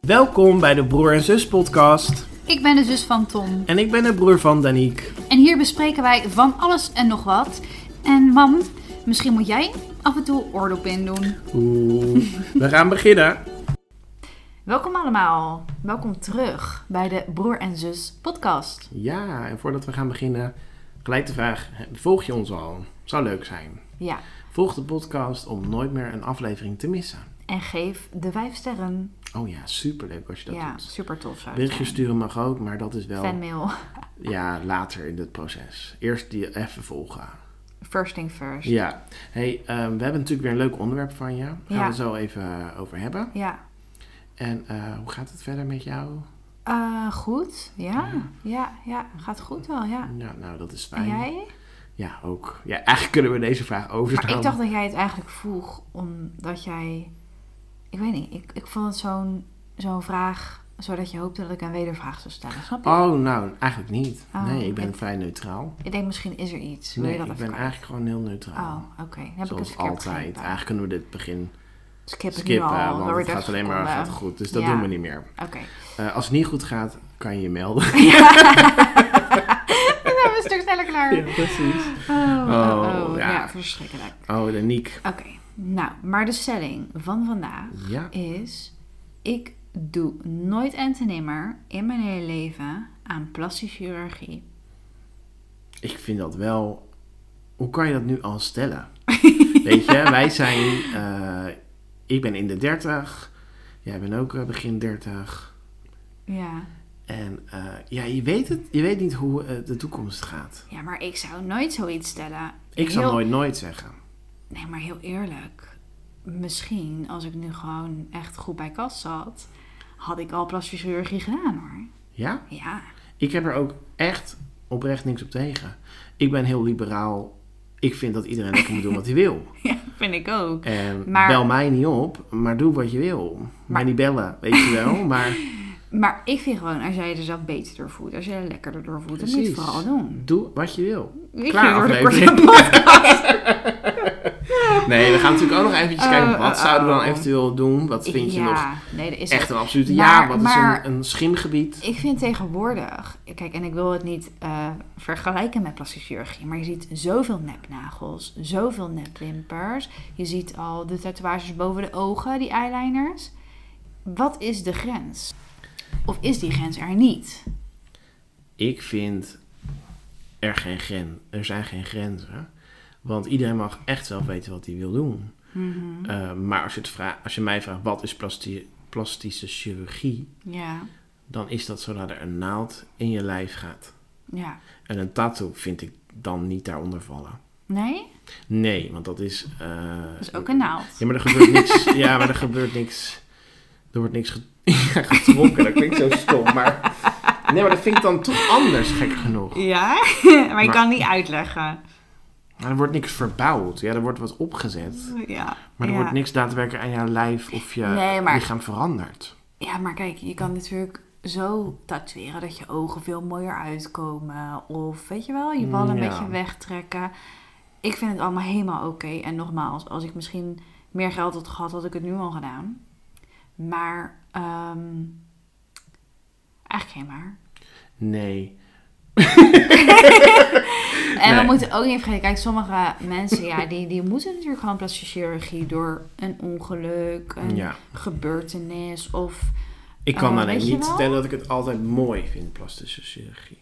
Welkom bij de Broer en Zus podcast. Ik ben de zus van Tom En ik ben de broer van Daniek. en hier bespreken wij van alles en nog wat. En mam, misschien moet jij af en toe oordop in doen. Oeh, we gaan beginnen. Welkom allemaal. Welkom terug bij de Broer en Zus podcast. Ja, en voordat we gaan beginnen, gelijk de vraag, volg je ons al? Zou leuk zijn. Ja, Volg de podcast om nooit meer een aflevering te missen. en geef de vijf sterren. Oh ja, superleuk als je dat ja, doet. super tof zou het Berichtjes zijn. sturen mag ook, maar dat is wel Fanmail. ja, later in het proces. Eerst die even volgen. First thing first. Ja. Ja, hey, ehm, we hebben natuurlijk weer een leuk onderwerp van je. Gaan we Ja. het zo even eh, over hebben. En eh, hoe gaat het verder met jou? Eh, goed. Ja. ja, ja, gaat goed wel, ja. Ja, nou, dat is En fijn. jij? Ja, ook. Ja, eigenlijk kunnen we deze vraag Maar overslaan. ik dacht dat jij het eigenlijk vroeg omdat jij... Ik weet niet, ik, ik vond het zo'n zo'n vraag zodat je hoopte dat ik een wedervraag zou stellen. Snap je? Oh, nou, eigenlijk niet. Oh, nee, ik ben ik- vrij neutraal. Ik denk misschien is er iets. Wil Nee, je dat ik even ben kwijt? eigenlijk gewoon heel neutraal. Oh, oké. Dan Heb ik het Zoals verkeerd altijd. begrepen. Eigenlijk kunnen we dit begin Skip het nu skippen, al. want door het 30 gaat alleen maar seconden. gaat goed. Dus dat Ja. doen we niet meer. Oké. Eh, als het niet goed gaat, kan je je melden. Dan zijn we een stuk sneller klaar. ja, precies. Oh, oh, Oh, oh. ja. Ja. verschrikkelijk. Oh, Daniek. Oké. Nou, maar de stelling van vandaag Ja. is... Ik doe nooit een tenemer in mijn hele leven aan plastische chirurgie. Ik vind dat wel... Hoe kan je dat nu al stellen? Weet je, wij zijn... eh, ik ben in de 30. Jij bent ook eh, begin 30. Ja. En eh, ja, je weet het. Je weet niet hoe eh, de toekomst gaat. Ja, maar ik zou nooit zoiets stellen. Ik zal Heel- nooit nooit zeggen. Nee, maar heel eerlijk. Misschien als ik nu gewoon echt goed bij kas zat... had ik al plastische chirurgie gedaan hoor. Ja? Ja. Ik heb er ook echt oprecht niks op tegen. Ik ben heel liberaal. Ik vind dat iedereen lekker moet doen wat hij wil. Ja, vind ik ook. En Maar- bel mij niet op, maar doe wat je wil. Mij niet bellen, weet je wel. Maar Maar ik vind gewoon, als jij er zelf beter door voelt, als jij er lekkerder door voelt, dan moet je precies. het vooral doen. Doe wat je wil. Ik Klaar, vind het aflevering. een korte podcast. Nee, we gaan natuurlijk ook nog eventjes Oh, kijken. Wat oh, zouden we dan oh. eventueel doen? Wat vind je ja, nog Nee, dat is echt een absolute Maar- ja? Wat is maar- een, een schimgebied? Ik vind tegenwoordig, kijk, en ik wil het niet eh, vergelijken met plastische chirurgie, maar je ziet zoveel nepnagels, zoveel nepwimpers. Je ziet al de tatoeages boven de ogen, die eyeliners. Wat is de grens? Of is die grens er niet? Ik vind er geen gren. Er zijn geen grenzen. Want iedereen mag echt zelf weten wat hij wil doen. Mhm. Eh, maar als je, het vra- als je mij vraagt wat is plasti- plastische chirurgie, Ja, dan is dat zodra er een naald in je lijf gaat. ja. En een tattoo vind ik dan niet daaronder vallen. Nee? Nee, want dat is. eh, Dat is ook een naald. Ja, maar er gebeurt niks. ja, maar er gebeurt niks. Er wordt niks ge- ja, getrokken. Dat klinkt zo stom. Maar. Nee, maar dat vind ik dan toch anders, gek genoeg. Ja, maar je Maar- kan het niet uitleggen. Maar Nou, er wordt niks verbouwd. Ja, er wordt wat opgezet. Ja. Maar er ja. wordt niks daadwerkelijk aan jouw lijf of je Nee, maar- lichaam veranderd. Ja, maar kijk, je kan natuurlijk zo tatoeëren dat je ogen veel mooier uitkomen. Of weet je wel, je ballen Ja. een beetje wegtrekken. Ik vind het allemaal helemaal oké. En nogmaals, als ik misschien meer geld had gehad, had ik het nu al gedaan. Maar, ehm eigenlijk geen maar. Nee. En Nee. we moeten ook niet vergeten, kijk, sommige mensen, ja, die, die moeten natuurlijk gewoon plastische chirurgie door een ongeluk, een Ja. gebeurtenis of... Ik kan Eh, alleen weet je niet wel? vertellen dat ik het altijd mooi vind, plastische chirurgie.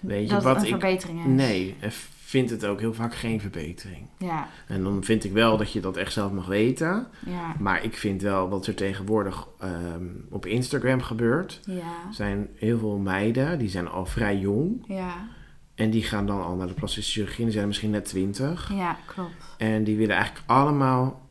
Weet je, dat het wat een ik... verbetering is. Nee, ik vind het ook heel vaak geen verbetering. Ja, En dan vind ik wel dat je dat echt zelf mag weten. ja, Maar ik vind wel wat er tegenwoordig ehm, op Instagram gebeurt. ja, Er zijn heel veel meiden, die zijn al vrij jong. ja, En die gaan dan al naar de plastische chirurgie. en Die zijn misschien net twintig. ja, klopt. En die willen eigenlijk allemaal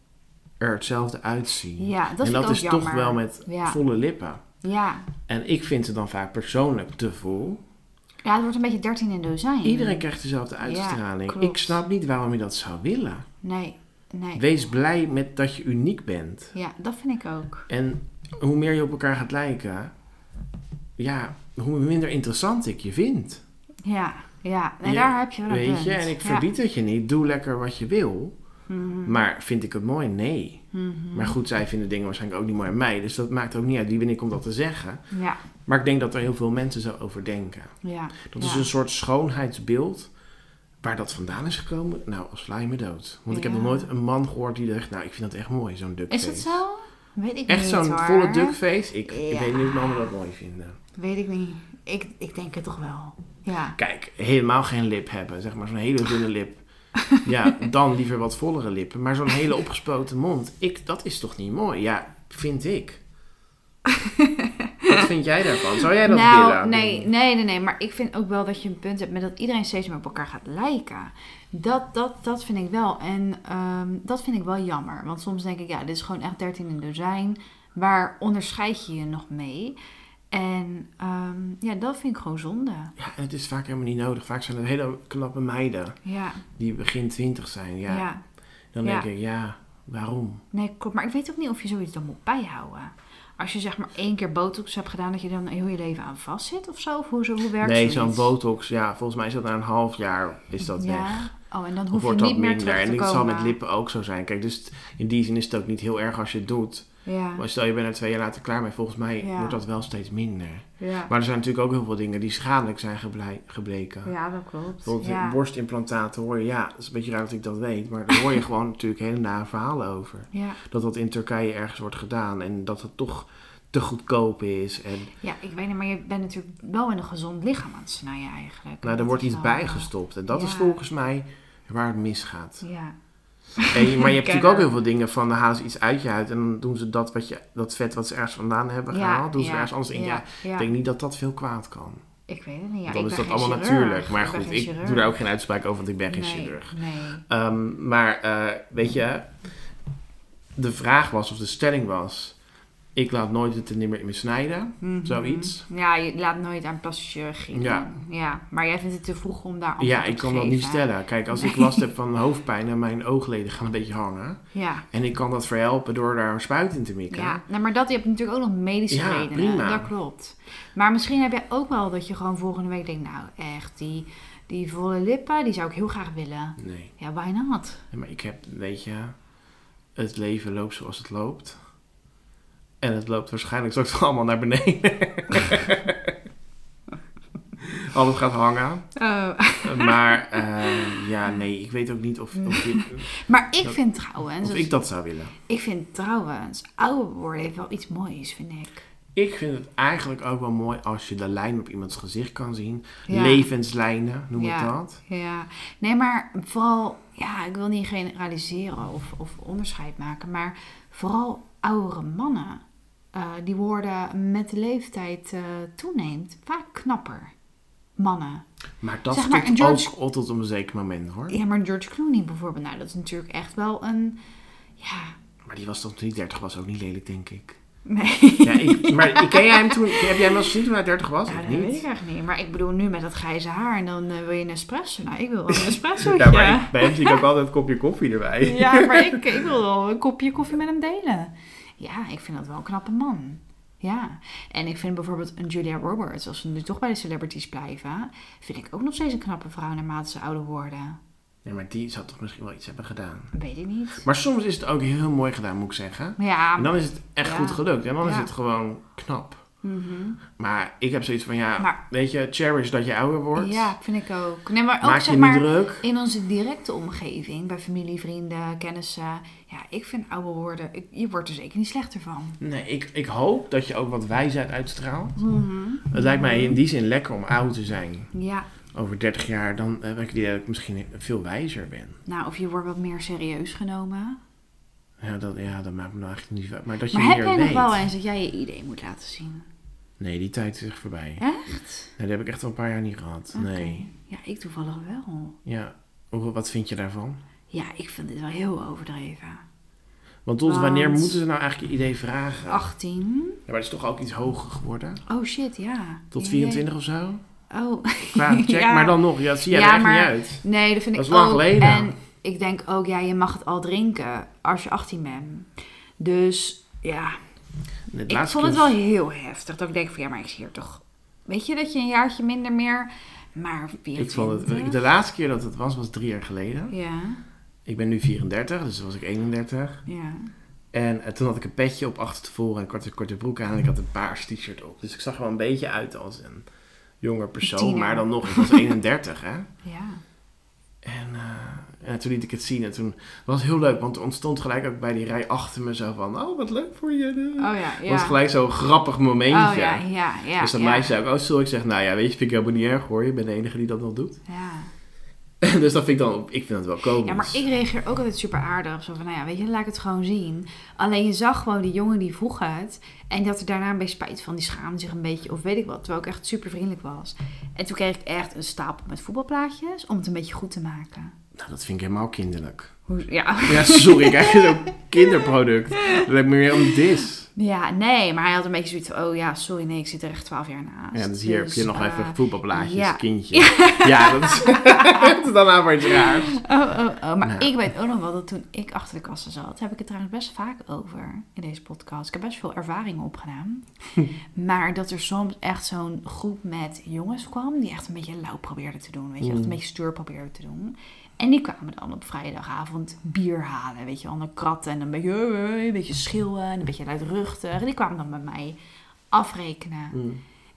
er hetzelfde uitzien. Ja, dat en dat vind ik ook is toch jammer. wel met Ja. volle lippen. Ja. En ik vind het dan vaak persoonlijk te vol. Mhm. ja, het wordt een beetje 13 in dozijn. Iedereen krijgt dezelfde uitstraling. klopt. ik snap niet waarom je dat zou willen. Nee, nee. Wees blij met dat je uniek bent. Ja, dat vind ik ook. En hoe meer je op elkaar gaat lijken, ja, hoe minder interessant ik je vind. Ja, ja. En Je- daar heb je wel een Weet je, punt. en ik Ja. Mhm. verbied het je niet. Doe lekker wat je wil. Maar vind ik het mooi? Nee. Maar goed, zij vinden dingen waarschijnlijk ook niet mooi aan mij. Dus dat maakt ook niet uit wie ben ik om dat te zeggen. Ja, Maar ik denk dat er heel veel mensen zo over denken. ja. Dat ja. is een soort schoonheidsbeeld. Waar dat vandaan is gekomen, nou, als sla je me dood. Want ik heb Ja. nog nooit een man gehoord die dacht, nou, ik vind dat echt mooi, zo'n Is duckface. dat zo? Weet ik Echt niet zo'n hoor. volle duckface. Ik, ik Ja. weet niet of mannen dat mooi vinden. Weet ik niet. Ik, ik denk het toch wel. Ja. Kijk, helemaal geen lip hebben, zeg maar zo'n hele dunne lip. Ja, dan liever wat vollere lippen. Maar zo'n hele opgespoten mond, ik, dat is toch niet mooi? Ja, vind ik. Wat vind jij daarvan? Zou jij dat Nou, willen? nee, nee, nee, nee. Maar ik vind ook wel dat je een punt hebt met dat iedereen steeds meer op elkaar gaat lijken. Dat, dat, dat vind ik wel. En ehm, dat vind ik wel jammer. Want soms denk ik, ja, dit is gewoon echt 13 in dozijn. Waar onderscheid je je nog mee? En ehm, ja, dat vind ik gewoon zonde. Ja, en het is vaak helemaal niet nodig. Vaak zijn het hele knappe meiden Ja, die begin twintig zijn. ja. Ja, dan Ja. denk ik, ja, waarom? Nee, klopt. Maar ik weet ook niet of je zoiets dan moet bijhouden. Als je zeg maar één keer botox hebt gedaan, dat je dan heel je leven aan vast zit of zo? Of hoe, hoe werkt Nee, zoiets? zo'n botox, ja, volgens mij is dat na een half jaar is dat weg. Ja. Oh, en dan Of hoef je wordt niet dat meer minder. terug te En komen. dat zal met lippen ook zo zijn. Kijk, dus t- in die zin is het ook niet heel erg als je het doet. Ja. Maar stel je bent er twee jaar later klaar mee, volgens mij Ja. wordt dat wel steeds minder. Ja. Maar er zijn natuurlijk ook heel veel dingen die schadelijk zijn geblei- gebleken. ja, dat klopt. Bijvoorbeeld ja. borstimplantaten hoor je, ja, dat is een beetje raar dat ik dat weet, maar daar hoor je gewoon natuurlijk hele nare verhalen over. Ja. Dat dat in Turkije ergens wordt gedaan en dat het toch te goedkoop is. En ja, ik weet niet, maar je bent natuurlijk wel in een gezond lichaam aan het snijden eigenlijk. nou, Dat er wordt is iets wel, eh, bijgestopt. En dat is ja. volgens mij waar het misgaat. eh, Ja, En je- maar je hebt natuurlijk Kenner. ook heel veel dingen van, dan halen ze iets uit je huid en dan doen ze dat, wat je, dat vet wat ze ergens vandaan hebben Ja, gehaald, doen ze ja, ergens anders in. ja, Ja, ja. Ik denk niet dat dat veel kwaad kan. ik weet het niet. Ja, dan ik is ben dat geen allemaal chirurg. natuurlijk. Maar Ik ben goed, geen ik chirurg. doe daar ook geen uitspraak over, want ik ben geen nee, chirurg. Nee. Ehm, maar eh, weet je, de vraag was, of de stelling was, ik laat nooit het er nimmer in me snijden. Zoiets. Mhm. Ja, je laat nooit aan plastische chirurgie. Ja. doen. ja. Maar jij vindt het te vroeg om daar antwoord Ja, op ik te kan dat niet geven. stellen. Kijk, als ik last heb van hoofdpijn en mijn oogleden gaan een beetje hangen. Ja. En ik kan dat verhelpen door daar een spuit in te mikken. Ja, nou, maar dat je hebt natuurlijk ook nog medische Ja, redenen. prima. Dat klopt. Maar misschien heb jij ook wel dat je gewoon volgende week denkt, nou echt, die, die volle lippen, die zou ik heel graag willen. Nee. Ja, why not? Nee, Maar ik heb, weet je, het leven loopt zoals het loopt. En het loopt waarschijnlijk straks allemaal naar beneden. Alles gaat hangen. Maar eh, ja, nee, ik weet ook niet of, of, je- maar ik vind trouwens, of ik dat zou willen. ik vind trouwens, ouder worden heeft wel iets moois, vind ik. Ik vind het eigenlijk ook wel mooi als je de lijn op iemands gezicht kan zien. Ja. Levenslijnen, noem ik Ja. dat. Ja, nee, maar vooral, ja, ik wil niet generaliseren of, of onderscheid maken, maar vooral oudere mannen, eh, die worden met de leeftijd eh, toeneemt vaak knapper. Mannen. Maar dat Zeg maar, stopt en George- ook al tot op een zeker moment hoor. Ja, maar George Clooney bijvoorbeeld, nou, dat is natuurlijk echt wel een, ja, Maar die was toch toen hij 30 was ook niet lelijk, denk ik. nee. Ja, ik, maar ik- ken jij hem toen, heb jij hem wel eens gezien toen hij 30 was? Ja, of dat niet? weet ik eigenlijk niet. Maar ik bedoel, nu met dat grijze haar en dan eh, wil je een espresso. Nou, ik wil wel een espresso. Ja, maar ik, bij hem zie ik ook altijd een kopje koffie erbij. Ja, maar ik, ik wil wel een kopje koffie met hem delen. Ja, ik vind dat wel een knappe man. Ja, en ik vind bijvoorbeeld een Julia Roberts, als we nu toch bij de celebrities blijven, vind ik ook nog steeds een knappe vrouw naarmate ze ouder worden. Ja, maar die zou toch misschien wel iets hebben gedaan. Weet ik niet. Maar soms is het ook heel mooi gedaan, moet ik zeggen. Ja, En dan is het echt Ja. goed gelukt. En dan is Ja. het gewoon knap. mhm. Maar ik heb zoiets van, ja, Maar- weet je, cherish dat je ouder wordt. ja, vind ik ook. Nee, maar ook Maak je zeg niet maar druk. in onze directe omgeving, bij familie, vrienden, kennissen. Ja, ik vind ouder worden, ik- je wordt er zeker niet slechter van. Nee, ik, ik hoop dat je ook wat wijsheid uitstraalt. Het lijkt mij in die zin lekker om oud te zijn. Mhm. Ja, Over 30 jaar, dan eh, heb ik die dat ik misschien veel wijzer ben. nou of je wordt wat meer serieus genomen. Ja, dat, ja, dat maakt me nou eigenlijk niet uit. Maar dat je Maar heb meer jij nog weet. wel eens dat jij je idee moet laten zien? Nee, die tijd is echt voorbij. Echt? Nee, dat heb ik echt al een paar jaar niet gehad. Nee. Oké. Ja, ik toevallig wel. Ja, hoe- wat vind je daarvan? Ja, ik vind dit wel heel overdreven. Want tot Want- wanneer moeten ze nou eigenlijk je idee vragen? 18? Ja, maar het is toch ook iets hoger geworden? Oh shit, ja. Tot Ja, 24 of zo? ja. Oh. Qua check, Ja. maar dan nog. Ja, dat zie jij Ja, er echt maar- niet uit. Nee, dat vind Dat ik is lang ook. geleden. En ik denk ook, ja, je mag het al drinken als je 18 bent. Dus ja, Het ik laatste vond het keer- wel heel heftig. Dat ik denk van, ja, maar ik zie hier toch... Weet je dat je een jaartje minder meer... Maar 24? Ik vond het, de laatste keer dat het was, was drie jaar geleden. Ja. Ik ben nu 34, dus toen was ik 31. Ja. En eh, toen had ik een petje op achter tevoren en een korte, korte broek aan. En ik had een paars t-shirt op. Dus ik zag er wel een beetje uit als een jonger persoon. Tiener. Maar dan nog, ik was 31, hè. Ja. En, eh, en toen liet ik het zien. En toen was het heel leuk, want er ontstond gelijk ook bij die rij achter me zo van... Oh, wat leuk voor je. Oh ja, ja. was gelijk zo'n grappig momentje. Oh ja, ja, ja. dus dat ja. meisje zei ook, oh sorry. Ik zeg, nou ja, weet je, vind ik helemaal niet erg hoor. Je bent de enige die dat nog doet. Ja. dus dat vind ik dan, ik vind dat wel komisch. Ja, maar ik reageer ook altijd super aardig. Zo van, nou ja, weet je, laat ik het gewoon zien. Alleen je zag gewoon die jongen die vroeg het. En dat er daarna een beetje spijt van. Die schaamde zich een beetje of weet ik wat. Terwijl ik echt super vriendelijk was. En toen kreeg ik echt een stapel met voetbalplaatjes. Om het een beetje goed te maken. Nou, dat vind ik helemaal kinderlijk. Hoe, ja. Ja, sorry, ik krijg zo'n kinderproduct. Dat lijkt me meer een dis. ja, nee. Maar hij had een beetje zoiets van, oh ja, sorry, nee, ik zit er echt twaalf jaar naast. Ja, dus hier heb je nog eh, even voetbalblaadjes, ja. kindje. Ja, dat is, dat is dan aan voor iets raars. Oh, oh, oh. Maar Nou. ik weet ook nog wel dat toen ik achter de kassen zat, heb ik het trouwens best vaak over in deze podcast. Ik heb best veel ervaring opgedaan. maar dat er soms echt zo'n groep met jongens kwam die echt een beetje lauw probeerden te doen. Weet je, echt een beetje stuur probeerden te doen. En die kwamen dan op vrijdagavond bier halen, weet je, onder kratten en een beetje, eh, een beetje schreeuwen en een beetje luidruchtig. En die kwamen dan bij mij afrekenen.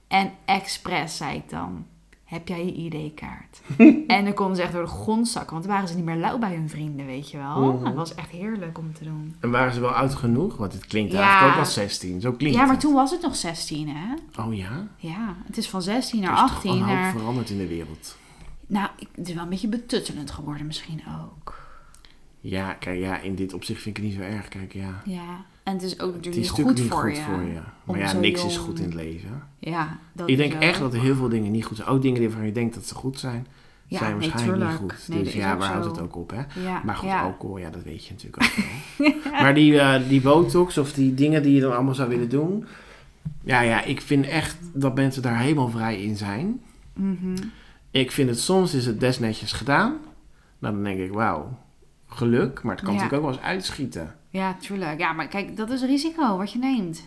En expres zei ik dan, heb jij je ID-kaart? en dan konden ze echt door de grond zakken, want dan waren ze niet meer lauw bij hun vrienden, weet je wel. Oh. Dat was echt heerlijk om te doen. En waren ze wel oud genoeg? Want het klinkt Ja. eigenlijk ook als 16. Zo klinkt Ja, maar het. toen was het nog 16, hè? Oh ja? Ja, het is van 16 Er naar is toch 18 een hoop naar... veranderd in de wereld. Nou, ik- het is wel een beetje betuttelend geworden misschien ook. Ja, kijk, ja, in dit opzicht vind ik het niet zo erg. Kijk, ja. Ja, en het is ook Het natuurlijk is niet natuurlijk goed, niet voor, goed je. voor je. om Maar ja, zo niks is jong- goed in het leven. Ja, dat Ik is denk wel- echt dat er heel veel dingen niet goed zijn. Ook dingen waarvan je denkt dat ze goed zijn, Ja, zijn nee, waarschijnlijk niet tuurlijk. goed. Nee, dus dat is ja, ook waar houdt zo. het ook op, hè? Ja, Maar goed, ja. alcohol, ja, dat weet je natuurlijk ook wel. Maar die, eh, die botox of die dingen die je dan allemaal zou willen doen. Ja, ja, ik vind echt dat mensen daar helemaal vrij in zijn. Mhm. Ik vind het soms is het desnetjes gedaan. Nou, dan denk ik, wauw, geluk. Maar het kan Ja. natuurlijk ook wel eens uitschieten. Ja, tuurlijk. Ja, maar kijk, dat is risico wat je neemt.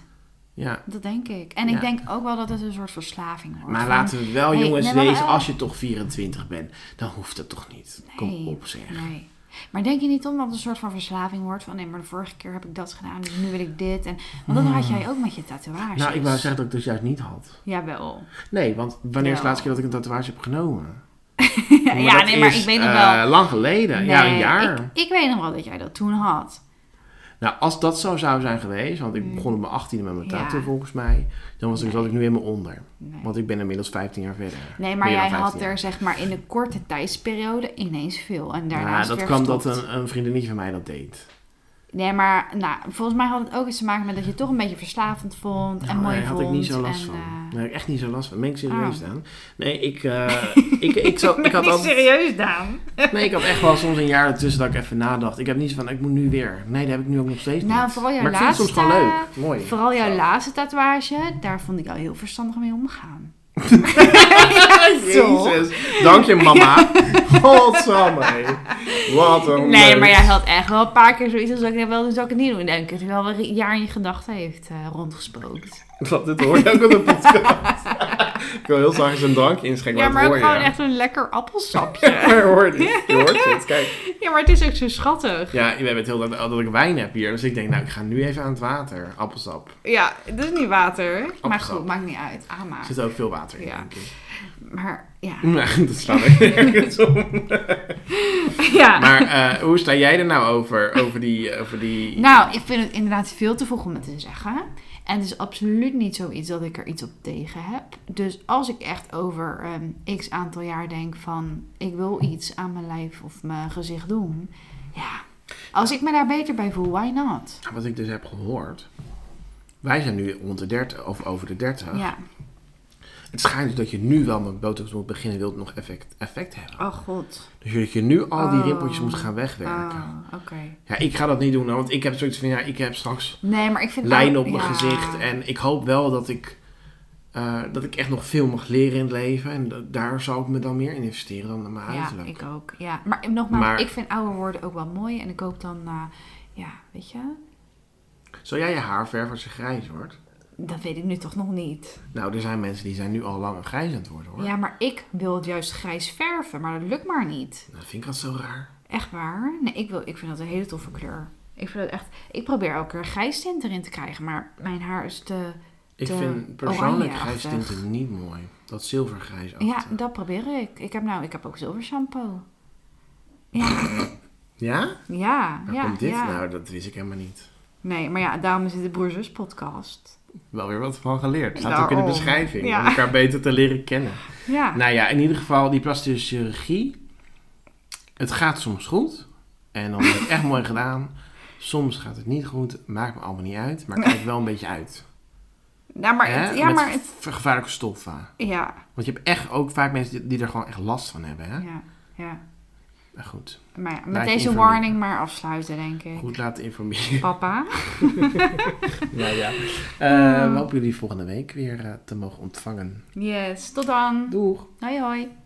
Ja. Dat denk ik. En Ja. ik denk ook wel dat het een soort verslaving wordt. Maar Van- laten we wel, hey, jongens, nee, maar- wezen. Als je toch 24 bent, dan hoeft het toch niet. Kom Nee, op, zeg. Nee. Maar denk je niet om dat het een soort van verslaving wordt? Van nee, maar de vorige keer heb ik dat gedaan, dus nu wil ik dit. En, want dat had jij ook met je tatoeages. Hmm. Nou, ik wou zeggen dat ik dat juist niet had. Jawel. Nee, want wanneer is de Ja. laatste keer dat ik een tatoeage heb genomen? Ja, dat nee, maar is, ik weet nog eh, wel. lang geleden, ja, een Nee, jaar. Ik, ik weet nog wel dat jij dat toen had. Nou, als dat zo zou zijn geweest, want ik begon op mijn 18e met mijn Mm. Ja. tattoo volgens mij, dan was ik, zat ik nu helemaal onder. Nee. Want ik ben inmiddels 15 jaar verder. Nee, maar Meer dan jij had 15 er zeg maar in een korte tijdsperiode ineens veel. En jaar. daarna Ja, is het dat weer kwam dat gestopt. een, een vriendinnetje van mij dat deed. Nee, maar nou, volgens mij had het ook iets te maken met dat je het toch een beetje verslavend vond. en Nou, mooi daar had vond. ik niet zo last en, van. eh, Daar had ik echt niet zo last van. Ben ik serieus Ah. aan? Nee, ik, eh, ik, ik, zou- ik had altijd- serieus, Daan. Nee, ik had echt wel soms een jaar ertussen dat ik even nadacht. Ik heb niet zo van, ik moet nu weer. Nee, dat heb ik nu ook nog steeds Nou, niet. vooral jouw maar ik vind het soms laatste- gewoon leuk. Mooi. Vooral jouw laatste tatoeage, daar vond ik jou heel verstandig mee omgaan. Zo. Jezus. Dank je, mama. Godsamme. hé. Wat een Nee, leuk. maar jij had echt wel een paar keer zoiets als dat ik nou wel, dus dat ik het niet doen. Denk ik, dat je wel een jaar in je gedachten heeft eh, rondgespookt. Wat, dit hoor je ook op de podcast. ik wil heel zachtjes een dank inschenken, Ja, maar dat ook hoor gewoon je. echt een lekker appelsapje. je hoort het. Je hoort het. Kijk. ja, maar het is ook zo schattig. Ja, we hebben het heel dat, dat ik wijn heb hier. Dus ik denk, nou, ik ga nu even aan het water. Appelsap. Ja, dat is niet water. Maar Appelsap. goed, maakt niet uit. Ah, Er maar. zit ook veel water in, Ja. denk ik. Maar ja. Nou, dat slaat ik nergens om. ja. Maar eh, hoe sta jij er nou over? Over die... Over die... Nou, ik vind het inderdaad veel te vroeg om het te zeggen. En het is absoluut niet zoiets dat ik er iets op tegen heb. Dus als ik echt over ehm, x aantal jaar denk van... ik wil iets aan mijn lijf of mijn gezicht doen. Ja, als ik me daar beter bij voel, why not? Wat ik dus heb gehoord. Wij zijn nu rond de 30 of over de 30. Ja. Het schijnt dus dat je nu wel met botox moet beginnen, wilt nog effect, effect hebben. Oh god. Dus dat je nu al die Oh. rimpeltjes moet gaan wegwerken. Oh, oké. Ja, ik ga dat niet doen, want ik heb zoiets van, ja, ik heb straks Nee, maar ik vind... lijnen op ja. mijn gezicht. En ik hoop wel dat ik, eh, dat ik echt nog veel mag leren in het leven. En da- daar zou ik me dan meer in investeren dan in mijn Ja, uiterlijk. ik ook. Ja. Maar nogmaals, Maar- ik vind ouder worden ook wel mooi. En ik hoop dan... eh, ja, weet je... Zou jij je haar verven als je grijs wordt? Dat weet ik nu toch nog niet. Nou, er zijn mensen die zijn nu al langer grijs aan het worden, hoor. Ja, maar ik wil het juist grijs verven, maar dat lukt maar niet. Dat Nou, vind ik al zo raar. Echt waar? Nee, ik, wil, ik vind dat een hele toffe kleur. Ik vind dat echt... Ik probeer elke keer grijs tint erin te krijgen, maar mijn haar is te... Ik te vind persoonlijk oranjeachtig. grijstinten niet mooi. Dat zilvergrijs Ja, dat probeer ik. Ik heb nou... Ik heb ook zilver shampoo. Ja, ja? ja, Waar ja. komt dit ja. nou? Dat wist ik helemaal niet. Nee, maar ja, daarom is dit de Broers Zus podcast. Wel weer wat van geleerd. Staat ook in de Daarom. beschrijving. Nou, oh. Ja. Om elkaar beter te leren kennen. Ja. Nou ja, in ieder geval die plastische chirurgie. Het gaat soms goed. En dan wordt het echt mooi gedaan. Soms gaat het niet goed. Maakt me allemaal niet uit. Maar kijkt wel een beetje uit. Nou, maar Hè? het, ja, Met maar het... ver- gevaarlijke stoffen. Ja, Want je hebt echt ook vaak mensen die- die er gewoon echt last van hebben. Hè? ja, ja. Maar goed, Maar ja, met Laat je deze informeren. warning maar afsluiten, denk ik. goed laten informeren. Papa. nou ja. Eh, we hopen jullie volgende week weer eh, te mogen ontvangen. Yes, tot dan. Doeg! Hoi hoi.